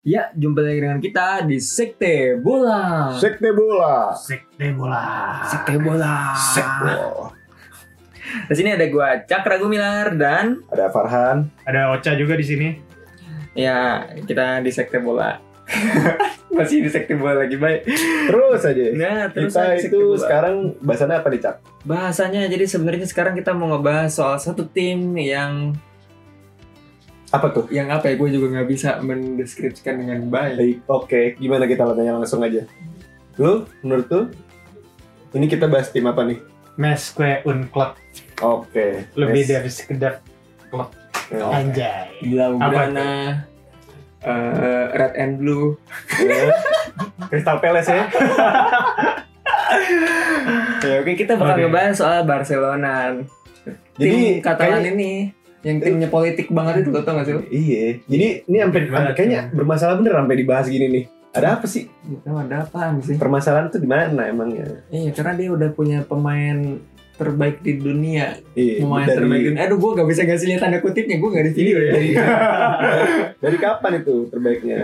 Ya, jumpa lagi dengan kita di Sekte Bola. Sekte bola. Sekte bola. Sekte Bola. Sekte. Di sini ada gua Cakra Gumilar dan Ada Farhan. Ada Ocha juga di sini. ya kita di Sekte Bola. Masih di Sekte Bola lagi baik. Terus aja. Nah, terus kita aja Sekte itu Bola. sekarang bahasannya apa nih Cak? bahasanya jadi sebenarnya sekarang kita mau ngebahas soal satu tim yang Apa tuh? yang apa ya gue juga nggak bisa mendeskripsikan dengan baik. Baik, Oke, gimana kita tanya langsung aja? Lu, menurut lu, ini kita bahas tim apa nih? Mesque Unclub. Oke. Yes. Lebih dari sekedar Ya. anjay. Gila Apa Ubrana, eh, Red and Blue, Ya. Crystal Palace ya. Ya, oke kita bakal Oke. ngebahas soal Barcelona. tim Jadi Catalan kayaknya- ini yang timnya politik banget itu lo tau gak sih lo? Iya. Jadi ini sampai Gimana sampai- kayaknya bermasalah bener sampai dibahas gini nih. Ada apa sih? Gak tau ada apaan sih. Permasalahan tuh di mana emangnya? Iya karena dia udah punya pemain terbaik di dunia. Iya. Pemain dari, Iya, terbaik di dunia. Aduh gue gak bisa ngasih lihat tanda kutipnya, gue gak di video ya. dari, dari kapan itu terbaiknya?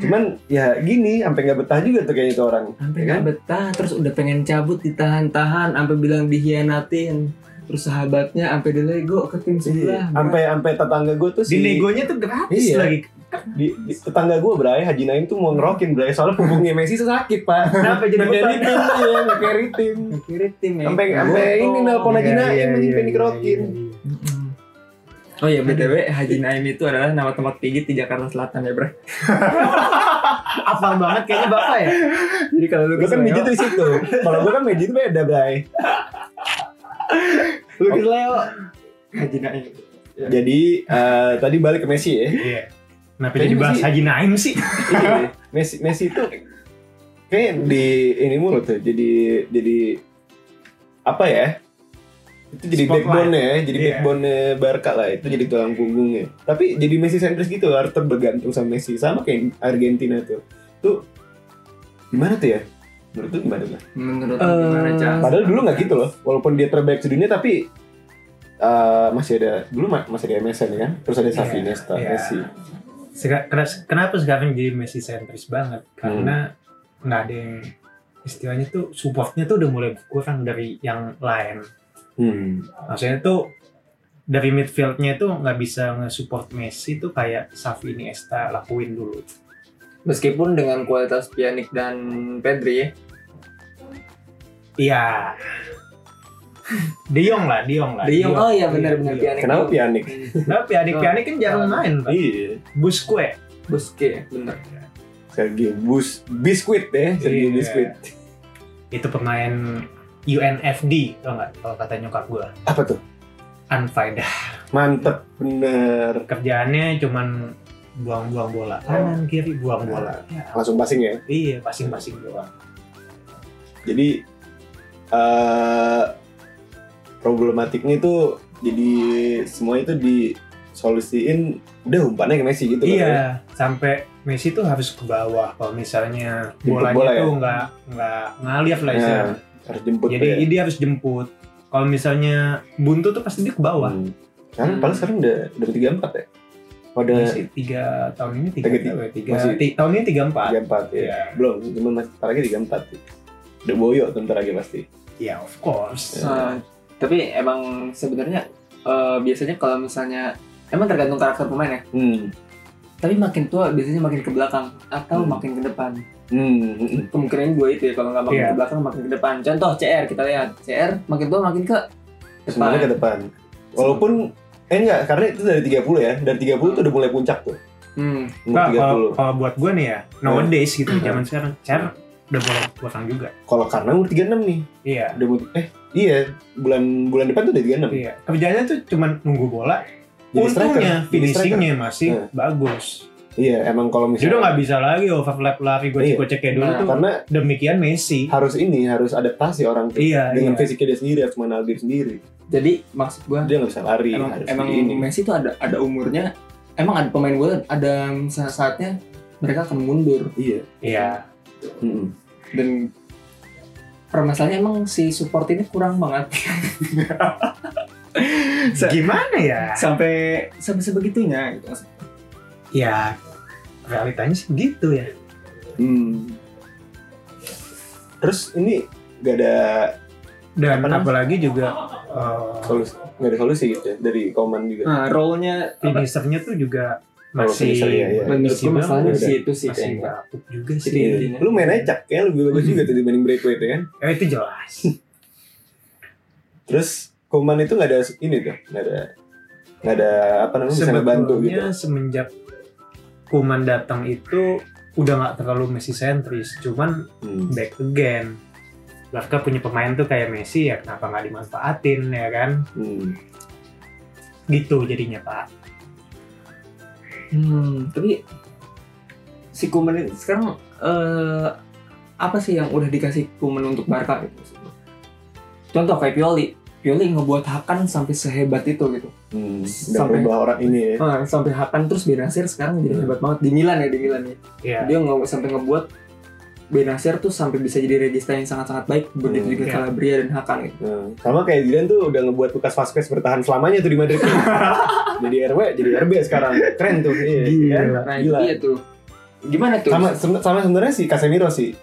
Cuman ya gini, sampai nggak betah juga tuh kayaknya itu orang. Sampai Ya gak betah, terus udah pengen cabut ditahan-tahan, sampai bilang dihianatin. Terus sahabatnya sampai dilego ke tim sebelah. Iya, Sampai sampai tetangga gue tuh si Di negonya tuh gratis Iya. lagi. di, di- tetangga gue Bray Haji Naim tuh mau ngerokin Bray soalnya punggungnya Messi tuh sakit pak. Kenapa jadi Nge-carry beban? tim ya, nge-carry tim. Kiri tim ya. Sampai Nggak sampai bohong. ini nelpon Haji Iya, iya, Naim anjing iya, pengen dikerokin. iya, iya. Mm-mm. Oh ya btw Haji Naim itu adalah nama tempat pijit di Jakarta Selatan ya bro. Hafal banget kayaknya bapak ya. Jadi kalau lu Lu kan mijit di situ. Kalau gue kan mijit beda Bray. Lu di Leo. Haji Naim. Jadi eh, tadi balik ke Messi ya. Iya. Kenapa Kayaknya jadi bahas masih- Haji Naim sih? Iya, Messi Messi itu kayak di ini mulu tuh. Jadi jadi apa ya? Itu jadi Spotlight. backbone ya, jadi Iya. backbone Barca lah itu jadi tulang punggungnya. Tapi jadi Messi sentris gitu, Arthur bergantung sama Messi sama kayak Argentina tuh. Tuh gimana tuh ya? Menurut lu gimana tuh? Menurut Eh, lu gimana Cak? Padahal dulu nggak gitu loh, walaupun dia terbaik di dunia tapi eh, masih ada dulu ma- masih ada MSN kan, terus ada Xavi Iya, Nesta, iya. Messi. Seka- kena- Kenapa sekarang jadi Messi sentris banget? Karena nggak ada yang istilahnya tuh supportnya tuh udah mulai kurang dari yang lain. Hmm. maksudnya tuh dari midfieldnya itu nggak bisa nge-support Messi tuh kayak Xavi Iniesta lakuin dulu. Meskipun dengan kualitas Pjanic dan Pedri ya. Iya. De Jong lah, De Jong lah. De Jong, oh iya Hmm, Oh. benar-benar De Jong. Pjanic. Kenapa Pianik? Tapi adik Piani kan jarang main, Pak. Iya. Busquets. Buske benar. Sergei Bus biskuit ya, Sergei Iya. biskuit. Itu pemain UNFD, tau nggak? Kalau kata nyokap gue, Apa tuh? unfaedah. Mantep bener. Kerjaannya cuman buang-buang bola kanan kiri buang bola Ya, Ah. Langsung passing ya. iya pasing-pasing doang Jadi eh problematiknya itu jadi semua itu disolusiin udah umpannya ke Messi gitu kan. Iya, sampai Messi tuh harus ke bawah kalau misalnya Jemput bolanya bola ya? tuh nggak nggak ngalir lah Nah, istilahnya. harus jemput Jadi ya. dia harus jemput. Kalau misalnya buntu tuh pasti dia ke bawah. Hmm. Kan paling sekarang udah udah tiga empat ya. Udah Messi tiga tahun ini tiga, Tiga- tiga, tiga masih- ti- tahun ini tiga empat. tiga empat ya. Iya. Belum, cuma masih ntar lagi tiga empat. Udah boyok tuh ntar lagi pasti. Ya of course. Iya. Eh, tapi emang sebenarnya eh, biasanya kalau misalnya emang tergantung karakter pemain ya. Hmm. Tapi makin tua biasanya makin ke belakang atau Hmm. makin ke depan. Hmm. hmm, hmm. Kemungkinan gue itu ya kalau nggak makin Iya. ke belakang makin ke depan. Contoh CR kita lihat. CR makin tua makin ke depan. Semuanya ke depan. Walaupun eh enggak, karena itu dari 30 ya. Dari 30 tuh udah mulai puncak tuh. Hmm. Nah, Umur kalau, 30. kalau buat gue nih ya, nowadays gitu Hmm. zaman sekarang, cara udah boleh kurang juga. Kalau karena umur 36 nih. Iya. Udah mau- eh iya, bulan bulan depan tuh udah 36. Iya. Kerjanya tuh cuman nunggu bola. Jadi striker, Untungnya jadi striker. finishingnya masih Iya. bagus. Iya, emang kalau Jadi udah misalnya nggak bisa lagi overlap lari gocek-gocek kayak dulu Nah, tuh. karena demikian Messi. harus ini harus adaptasi orang tuh Iya, dengan iya. fisiknya dia sendiri harus mengenal diri sendiri. Jadi maksud gue Dia nggak bisa lari, emang, harus emang di ini. Messi itu ada ada umurnya emang ada pemain bola ada sa- saatnya mereka akan mundur Iya. Iya. Mm-mm. dan permasalahannya emang si support ini kurang banget Sa- Gimana ya? sampai sampai sebegitunya gitu maksudnya. Ya realitanya sih gitu ya. Hmm. Terus ini gak ada Dan Apa namanya? apalagi juga eh, solusi, gak ada solusi gitu ya dari Koman juga. nah role-nya apa? finishernya tuh juga Kalau masih finisher, iya, iya. Menurut gue masih masalahnya banget. di situ sih masih kayaknya. nggak up juga Jadi sih. Iya. intinya- Lu main aja Cak, kayaknya lebih bagus juga tuh dibanding Braithwaite ya kan. Ya, itu jelas. Terus Koman itu gak ada ini tuh, gak ada gak ada apa namanya bisa ngebantu gitu. Sebetulnya semenjak Kuman datang itu udah nggak terlalu Messi sentris, cuman Hmm. back again. Barca punya pemain tuh kayak Messi ya kenapa nggak dimanfaatin ya kan? Hmm. Gitu jadinya Pak. Hmm, tapi si Kuman ini sekarang eh, apa sih yang udah dikasih Kuman untuk Barca gitu? maksudnya? Contoh kayak Pioli, Pioli ngebuat Hakan sampai sehebat itu gitu, Hmm. Udah Sampai- merubah orang ini ya. Eh, sampai Hakan terus Benasir sekarang jadi hebat banget di Milan ya di Milan ya. Ya. Dia nggak sampai ngebuat Benasir tuh sampai bisa jadi regista yang sangat-sangat baik begitu Hmm, juga iya. Calabria dan Hakan gitu. Nah, sama kayak Zidane tuh udah ngebuat Lukas Vazquez bertahan selamanya tuh di Madrid. jadi RW, jadi RB sekarang. Keren tuh. Iya, kan? Nah Gila. itu dia tuh. Gimana tuh? Sama sen- sama sebenarnya si Casemiro sih.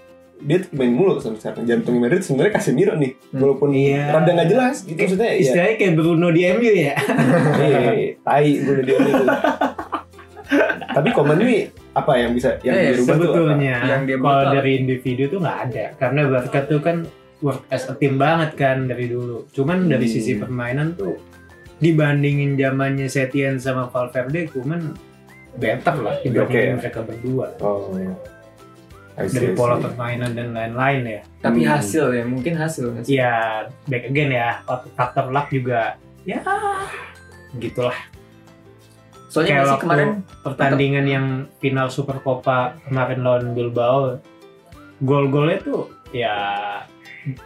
Dia tuh main mulu sampai sekarang. Jantung Madrid sebenarnya Casemiro nih. Hmm. Walaupun Iya. rada nggak jelas gitu maksudnya. Iya. Istilahnya kayak Bruno di MU ya. Iya, iya. tai gue dia itu. Tapi komen ini apa yang bisa yang Eh, dirubah tuh apa? Iya, Sebetulnya Yang dia kalau bakal- dari individu tuh nggak ada karena Barca tuh kan work as a team banget kan dari dulu. Cuman dari Hmm. sisi permainan tuh dibandingin zamannya Setien sama Valverde, cuman better lah dibandingin mereka berdua Oh. iya. I see, dari I see. pola permainan dan lain-lain ya. Tapi Hmm. hasil ya, mungkin hasil. hasil. Ya back again ya faktor- faktor luck juga ya gitulah Soalnya Kayak masih waktu- kemarin pertandingan yang final Super Copa kemarin lawan Bilbao gol-golnya tuh ya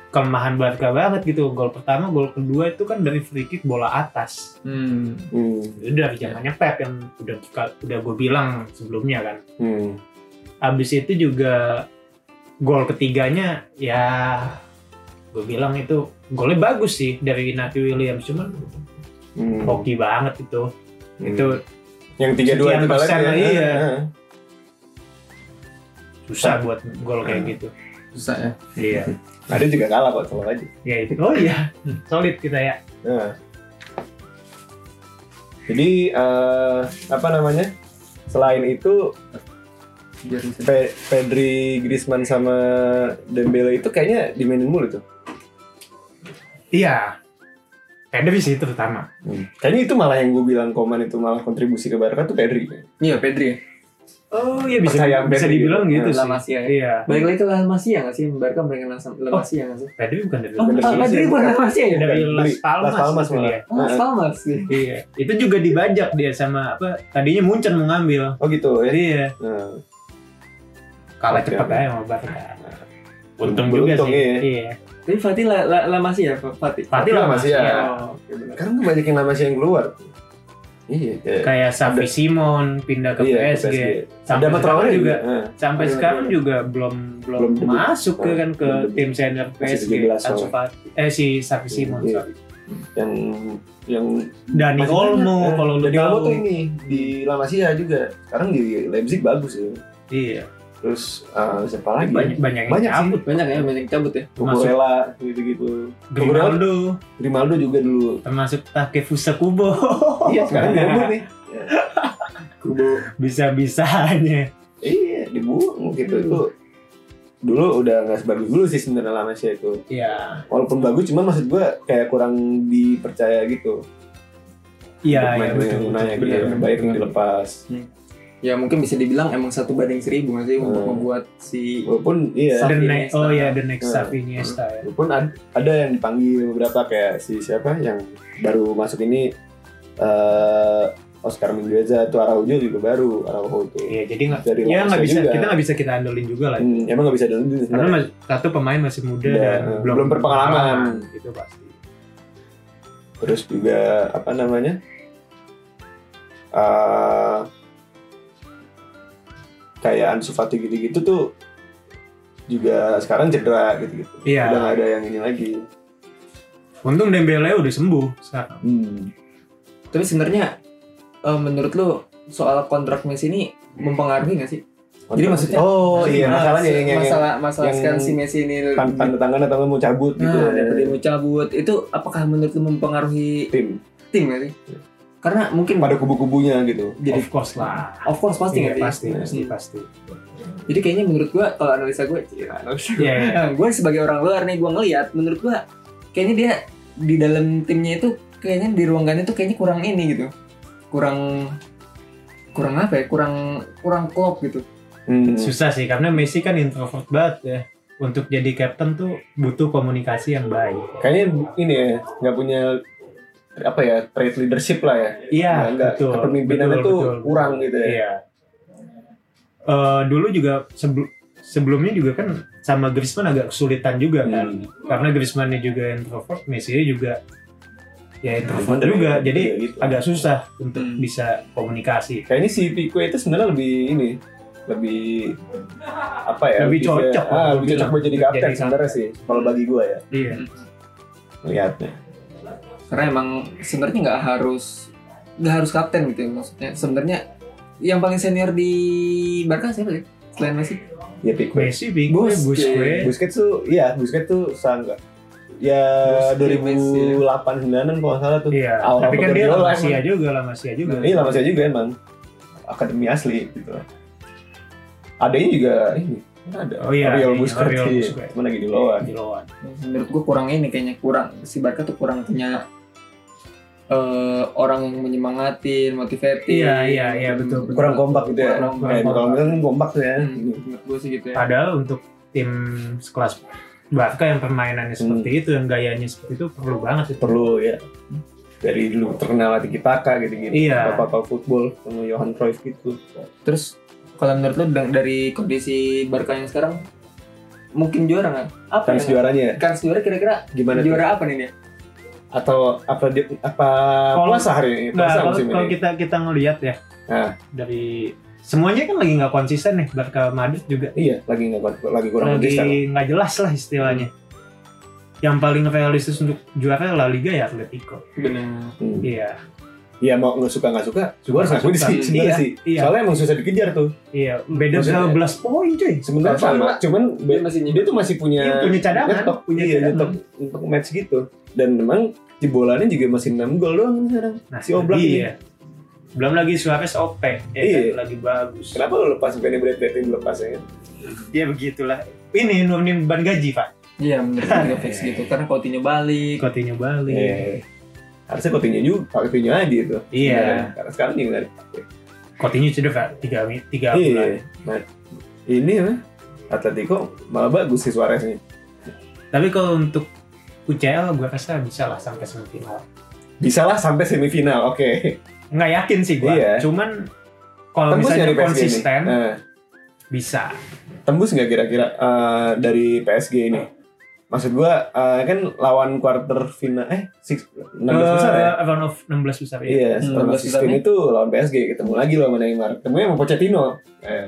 kelemahan Barca banget gitu gol pertama gol kedua itu kan dari free kick bola atas hmm, Hmm. itu dari zamannya Pep yang udah udah gue bilang sebelumnya kan Hmm. habis itu juga gol ketiganya ya gue bilang itu golnya bagus sih dari Nati Williams cuman Hmm. hoki banget itu Hmm. itu yang 32 itu sekian balap persen ya. lah, iya. Heeh. susah buat gol kayak gitu susah ya. iya Ada Nah, juga kalah kok selalu aja. ya itu oh iya solid kita ya Nah. Jadi eh, apa namanya? Selain itu Biar bisa. Pe- Pedri, Griezmann sama Dembele itu kayaknya dimainin mulu tuh. Iya. Pedri sih terutama. Kayaknya itu malah yang gue bilang Koman itu malah kontribusi ke Barca tuh Pedri. Iya Pedri. ya? Oh iya bisa Percayaan bisa Pedri dibilang gitu. gitu, La sih. Masia ya. Iya. Balik lagi ke La Masia nggak sih? Barca mereka La La Oh. Masia nggak sih? Pedri bukan dari Oh, Bener ah, sih. Madrid bukan La Masia ya? dari Pedri. Las Palmas. Las Palmas itu malah. dia. Oh, sama sih. Iya. Itu juga dibajak dia sama apa? Tadinya Munchen mau ngambil. Oh gitu ya. Iya. Nah, Kalah Oke. cepat aja sama Barca. Untung Beruntung juga sih. ya. Iya. Tapi Fatih La, La, La Masia ya, Fa- Fatih. Fatih La lah masih Masia. ya. Oh, oke, benar. Sekarang tuh banyak yang lama sih yang keluar. Iya. iya. Kayak Safi Simon pindah ke Iya, PSG. Sampai Dapat sekarang lawannya juga. juga. Nah, Sampai Iya, sekarang iya. juga belum belum, Belum debut. Oh, masuk ke kan ke Belum debut. tim senior PSG. 17 Ansu soalnya. Fati- eh si Safi Simon. oh. Iya. sorry. yang yang Dani Masih Olmo banyak. Nah, kalau lu Dani Olmo tahu. tuh ini di La Masia juga. Sekarang di Leipzig bagus ya. Iya. Terus eh, siapa lagi? banyak banyak yang Banyak sih. cabut Banyak ya, banyak yang cabut ya. Kukurela gitu-gitu. Grimaldo Grimaldo juga dulu. termasuk Takefusa Kubo Oh, Iya, sekarang direbut nih. Iya. Kubo. bisa-bisanya Iya, dibuang gitu Hmm. itu. Dulu udah nggak sebagus dulu sih sebenarnya La Masia itu. ya walaupun bagus cuman maksud gue kayak kurang dipercaya gitu Untuk iya ya main betul yang betul naik, betul, iya, betul. baik yang dilepas Ya mungkin bisa dibilang emang satu banding seribu nggak sih untuk Hmm. membuat si walaupun iya Sa- The Xavi next- Iniesta. oh ya the next Hmm. Xavi Iniesta ya walaupun ad- ada yang dipanggil beberapa kayak si siapa yang baru masuk ini eh Oscar Mingueza tuh Araujo juga baru Araujo tuh Iya, jadi nggak dari ya La nggak Masia bisa juga. kita nggak bisa kita andalin juga lah Hmm, emang nggak bisa dalam karena mas- satu pemain masih muda Iya, dan belum berpengalaman. itu pasti terus juga apa namanya eh kayak Ansu Fati gitu-gitu tuh juga sekarang cedera gitu-gitu. Iya. Udah nggak ada yang ini lagi. Untung Dembele udah sembuh sekarang. Hmm. Tapi sebenarnya eh, menurut lu soal kontrak Messi ini mempengaruhi nggak sih? Jadi maksudnya- Oh iya masalahnya yang yang, masalah masalah yang- sekarang si Messi ini yang tan- tanda tangan atau nggak mau cabut gitu. nah, daripada mau cabut itu apakah menurut lu mempengaruhi Tim tim nggak sih? Karena mungkin pada kubu-kubunya gitu. jadi of course lah. of course pasti Iya, nggak sih? pasti, pasti, Hmm. pasti. Jadi kayaknya menurut gua kalau analisa gua, iya, analisa gua. Iya, iya. Nah, gua sebagai orang luar nih gua ngelihat menurut gua kayaknya dia di dalam timnya itu kayaknya di ruangannya tuh kayaknya kurang ini gitu. Kurang kurang apa ya? Kurang kurang klop gitu. Hmm. Susah sih karena Messi kan introvert banget ya. Untuk jadi captain tuh butuh komunikasi yang baik. Kayaknya ini ya nggak punya apa ya trade leadership lah ya. Iya, Nah, nggak- betul. kepemimpinannya betul, tuh betul. kurang gitu ya. Iya. Eh, dulu juga sebelum sebelumnya juga kan sama Griezmann agak kesulitan juga kan. Hmm. Karena Griezmann-nya juga introvert, Messi juga ya introvert Bener, juga. ya, Jadi iya gitu. agak susah untuk Hmm. bisa komunikasi. kayaknya si Pique itu sebenarnya lebih ini lebih apa ya Lebih cocok, ah, lebih lebih cocok buat jadi cocok kapten jadi sebenarnya kapten. sih kalau bagi gue ya Iya. lihatnya karena emang sebenarnya nggak harus nggak harus kapten gitu ya maksudnya sebenarnya yang paling senior di Barca siapa ya selain Messi ya Pique Messi bingung, ya, Busquets. Busquets. Busquets tuh iya Busquets tuh sangat ya Busquets, Messi. 2008 2009 kalau nggak salah tuh Iya, Awal tapi kan dia Guardiola, lama sia juga, lama sia juga. ini lama saya juga emang akademi asli gitu adanya juga ini ada Oh iya, Oriol iya, Busquets gitu Oriol sih Busquets. cuman lagi di luar Di lawan. menurut gue kurang ini kayaknya kurang si Barca tuh kurang punya eh, orang yang menyemangatin motivatin Iya, iya, iya, betul, betul. kurang kompak gitu ya Kurang kompak. Eh, kalau bilang kan kompak tuh ya Hmm, menurut gue sih gitu ya Padahal untuk tim sekelas Barca yang Hmm. permainannya seperti itu, yang gayanya seperti itu perlu banget itu. perlu ya dari dulu terkenal Tiki Taka gitu-gitu Iya. bapak-bapak football sama Johan Cruyff gitu terus kalau menurut lu da- dari kondisi Barca yang sekarang mungkin juara nggak apa kans yang- juaranya kans juara kira-kira gimana tuh? Iya. Kan juara apa nih dia atau apa dia apa Kalau- puasa hari ini Nah, puasa kalau, musim kalau ini kita kita ngelihat ya Nah. dari semuanya kan lagi nggak konsisten nih Barca Madrid juga iya lagi nggak lagi kurang lagi iya. konsisten Hmm. nggak jelas lah istilahnya. Yang paling realistis untuk juara La Liga ya Atletico. benar Hmm. Iya, iya mau nggak suka nggak suka Suka harus nggak ngakuin suka. sih sebenarnya Iya, sih iya. soalnya emang susah dikejar tuh iya. Beda Maksudnya- 12 poin cuy. sebenarnya sama Sama. cuman dia be- masih dia tuh masih punya Iya, punya cadangan, nyetok, punya iya, cadangan. nyetok untuk match gitu dan memang jebolannya juga masih 6 gol doang sekarang Nah, si Oblak ini. iya. Belum lagi Suarez OP, ya Iya. kan? lagi bagus. kenapa lu lepas bukannya Brad Pitt yang lepasnya Ya begitulah. Ini nurunin beban gaji, Pak. Iya menurut gue juga fix gitu karena Coutinho balik. Coutinho balik. Eh, harusnya Coutinho juga Coutinho aja itu Iya. Nah, karena sekarang juga nggak dipakai Coutinho cedera 3 tiga iya bulan. nah, ini mah Atletico malah bagus sih Suareznya Tapi kalau untuk UCL gua rasa bisa lah sampai semifinal. bisa lah sampai semifinal oke Nggak yakin sih gua. Iya. Cuman kalau tembus nggak misalnya di PSG konsisten ini nah, bisa. tembus nggak kira-kira eh, dari PSG ini maksud gua eh, kan lawan quarter final eh six, 16 besar ya Eh, round of 16 besar ya. Iya, Hmm, setelah 16 16 besarnya. itu lawan PSG ketemu lagi lawan Neymar. Ketemunya sama Pochettino. Eh,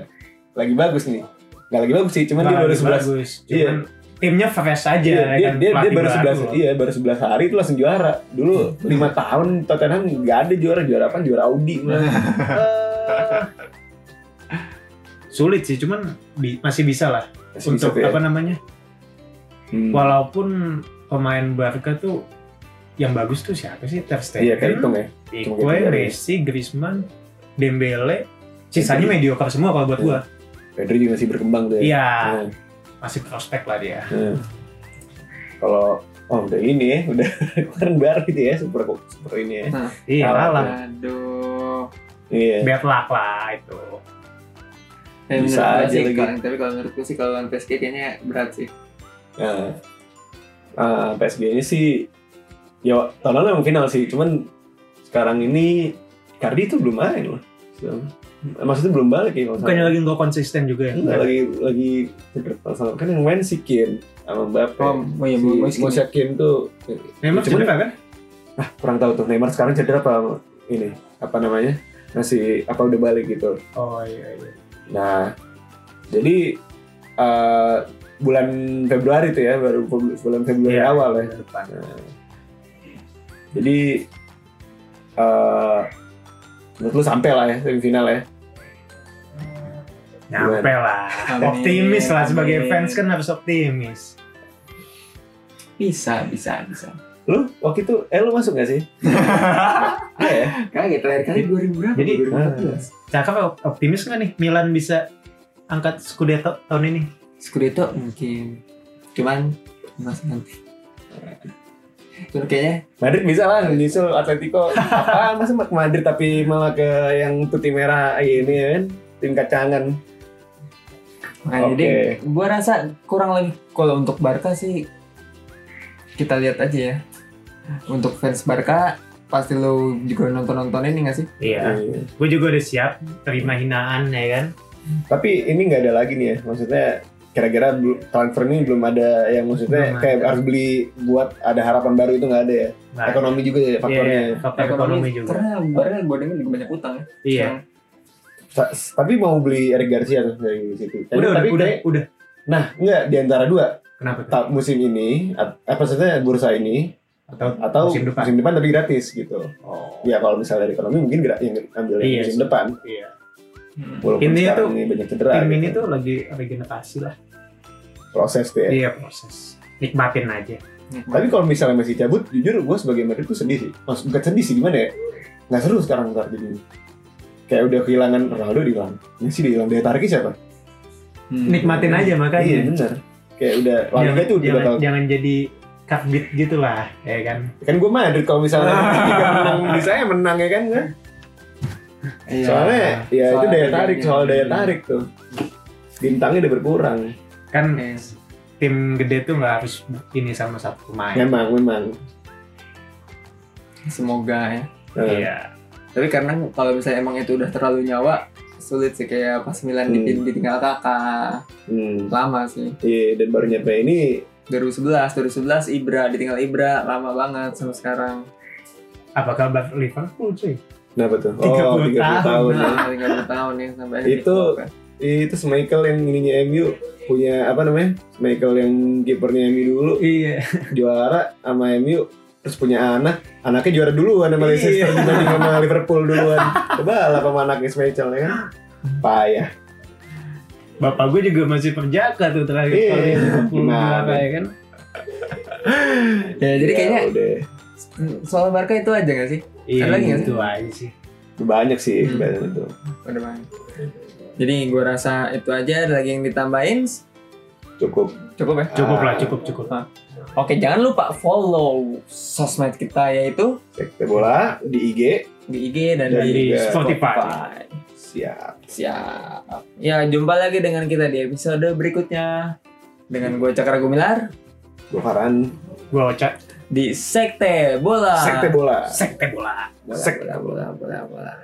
lagi bagus nih. Gak lagi bagus sih, cuman Nggak dia baru lagi 11 bagus. Cuman timnya fresh aja Iya, ya dia, kan. dia, dia Pelatih baru baru. 11 iya baru 11 hari itu langsung juara. Dulu 5 tahun Tottenham nggak ada juara juara apa juara Audi. Nah, malah. Eh, sulit sih, cuman bi- masih bisa lah Masih bisa untuk tuh ya. apa namanya Hmm. Walaupun pemain Barca tuh yang bagus tuh siapa sih? Ter Stegen, Iya kayak hitung ya. Pique, Cuma gitu Messi, Griezmann, Dembele. Sisanya mediocre semua kalau buat gua. Pedri juga masih berkembang tuh. ya. Iya, Hmm. masih prospek lah dia. Hmm. Kalau oh udah ini ya, udah kemarin baru gitu ya super super ini ya. Nah, Iya Kalah lah. Aduh. Iya. Bad luck lah itu. Eh, Bisa menurut gua aja sih, lagi. kalau- tapi kalau menurut gue sih kalau lawan PSG kayaknya berat sih. Nah, ah, PSG ini sih ya tahun lalu emang final sih, cuman sekarang ini Cardi itu belum main loh. Maksudnya belum balik ya kalau Bukannya lagi nggak konsisten juga ya? Enggak, lagi lagi cedera sama kan yang main si Kim sama Mbappe. Oh, oh iya, si Moise Kean. Moise Kean tuh Memang Cuman- cedera kan? ah kurang tahu tuh Neymar sekarang cedera apa ini apa namanya masih apa udah balik gitu. Oh iya iya. Nah jadi eh bulan Februari itu ya baru bulan Februari Iya, awal ya bulan depan. Nah, jadi eh menurut lu sampai lah ya semifinal ya Nyampe lah. Amin, Optimis lah sebagai amin. fans kan harus optimis. bisa bisa bisa lu waktu itu eh lu masuk gak sih Iya ya kaget terakhir kali 2000 berapa Jadi- 2014 Cakep op- optimis nggak nih Milan bisa angkat Scudetto tahun ini? Scudetto mungkin cuman masih nanti cuman kayaknya Madrid bisa lah nyusul Atletico apaan masa ke Madrid tapi malah ke yang putih merah ini ya kan tim kacangan makanya Oke. deh gue Nah, rasa kurang lebih kalau untuk Barca sih kita lihat aja ya untuk fans Barca pasti lo juga nonton nontonin nih nggak sih Iya. Iya. Gue juga udah siap terima hinaan ya kan. tapi ini nggak ada lagi nih ya maksudnya kira-kira bel- transfer ini belum ada yang maksudnya Belum ada. kayak harus beli buat ada harapan baru itu nggak ada ya Nah, ekonomi juga ya faktornya iya, faktor ekonomi juga. karena Barca gue dengar juga banyak utang ya Iya. Sa- tapi mau beli Eric Garcia tuh dari situ Udah, udah, tapi udah, kayak- udah. nah nggak di antara dua Kenapa tuh? ta- musim ini at- apa maksudnya bursa ini Atau, atau musim depan? tapi gratis gitu Oh. ya kalau misalnya dari ekonomi mungkin gerak yang ambil yang Iya musim sih. depan Iya. Hmm. walaupun Intinya sekarang tuh, ini banyak cedera Tim gitu. ini tuh lagi regenerasi lah. proses tuh ya Iya proses. Nikmatin aja. Iya. Hmm. tapi kalau misalnya masih cabut jujur gue sebagai Madrid tuh sedih sih maksud bukan sedih sih gimana ya nggak seru sekarang ntar jadi kayak udah kehilangan Ronaldo dihilang Messi dihilang daya tariknya siapa Hmm. Nikmatin aja iya makanya. bener kayak udah La Liga Jangan, tuh udah jangan, bakal jangan jadi cutbit gitu lah, ya kan? kan gue Madrid kalau misalnya Liga menang di saya menang ya kan Iya. soalnya ya Soal itu daya daya tarik tarik. soal daya tarik tuh bintangnya udah berkurang Kan Iya. Yes. tim gede tuh nggak harus ini sama satu pemain. memang memang semoga ya Nah, Iya. tapi karena kalau misalnya emang itu udah terlalu nyawa sulit sih kayak pas Milan Hmm. dipin- ditinggal kakak hmm. lama sih Iya, dan baru nyampe ini 2011 2011 Ibra ditinggal Ibra lama banget sama sekarang Apa kabar Liverpool cuy? Kenapa tuh? Oh, 30 tahun. ya. Nah, 30 tahun ya sampai akhirnya Itu- dikeluarkan. Iya, Itu Michael yang ininya MU punya apa namanya? Michael yang kipernya MU dulu Iya. juara sama MU terus punya anak, anaknya juara duluan sama Leicester dibanding sama Liverpool duluan. Coba lah sama anaknya Michael ya kan. Payah. Bapak gue juga masih perjaka tuh terakhir Iya. kali Liverpool Nah, juara, ya kan? ya jadi Ya kayaknya udah soal Barca itu aja gak sih Iya, Ada lagi nggak gitu aja sih. banyak sih Hmm. banyak itu. udah banget jadi gue rasa itu aja ada lagi yang ditambahin Cukup. cukup ya Cukup lah, Ah, cukup, cukup. oke jangan lupa follow sosmed kita yaitu Sekte bola di IG di IG dan, di Dan Dari juga Iya, Spotify. Spotify. siap. Siap. Ya, jumpa lagi dengan kita di episode berikutnya. Dengan gue Cakra Gumilar Gue Farhan, Gue ocak. di Sekte Bola. Ah. Sekte bola. Sekte bola. Bola, Sekte bola, bola, bola, bola.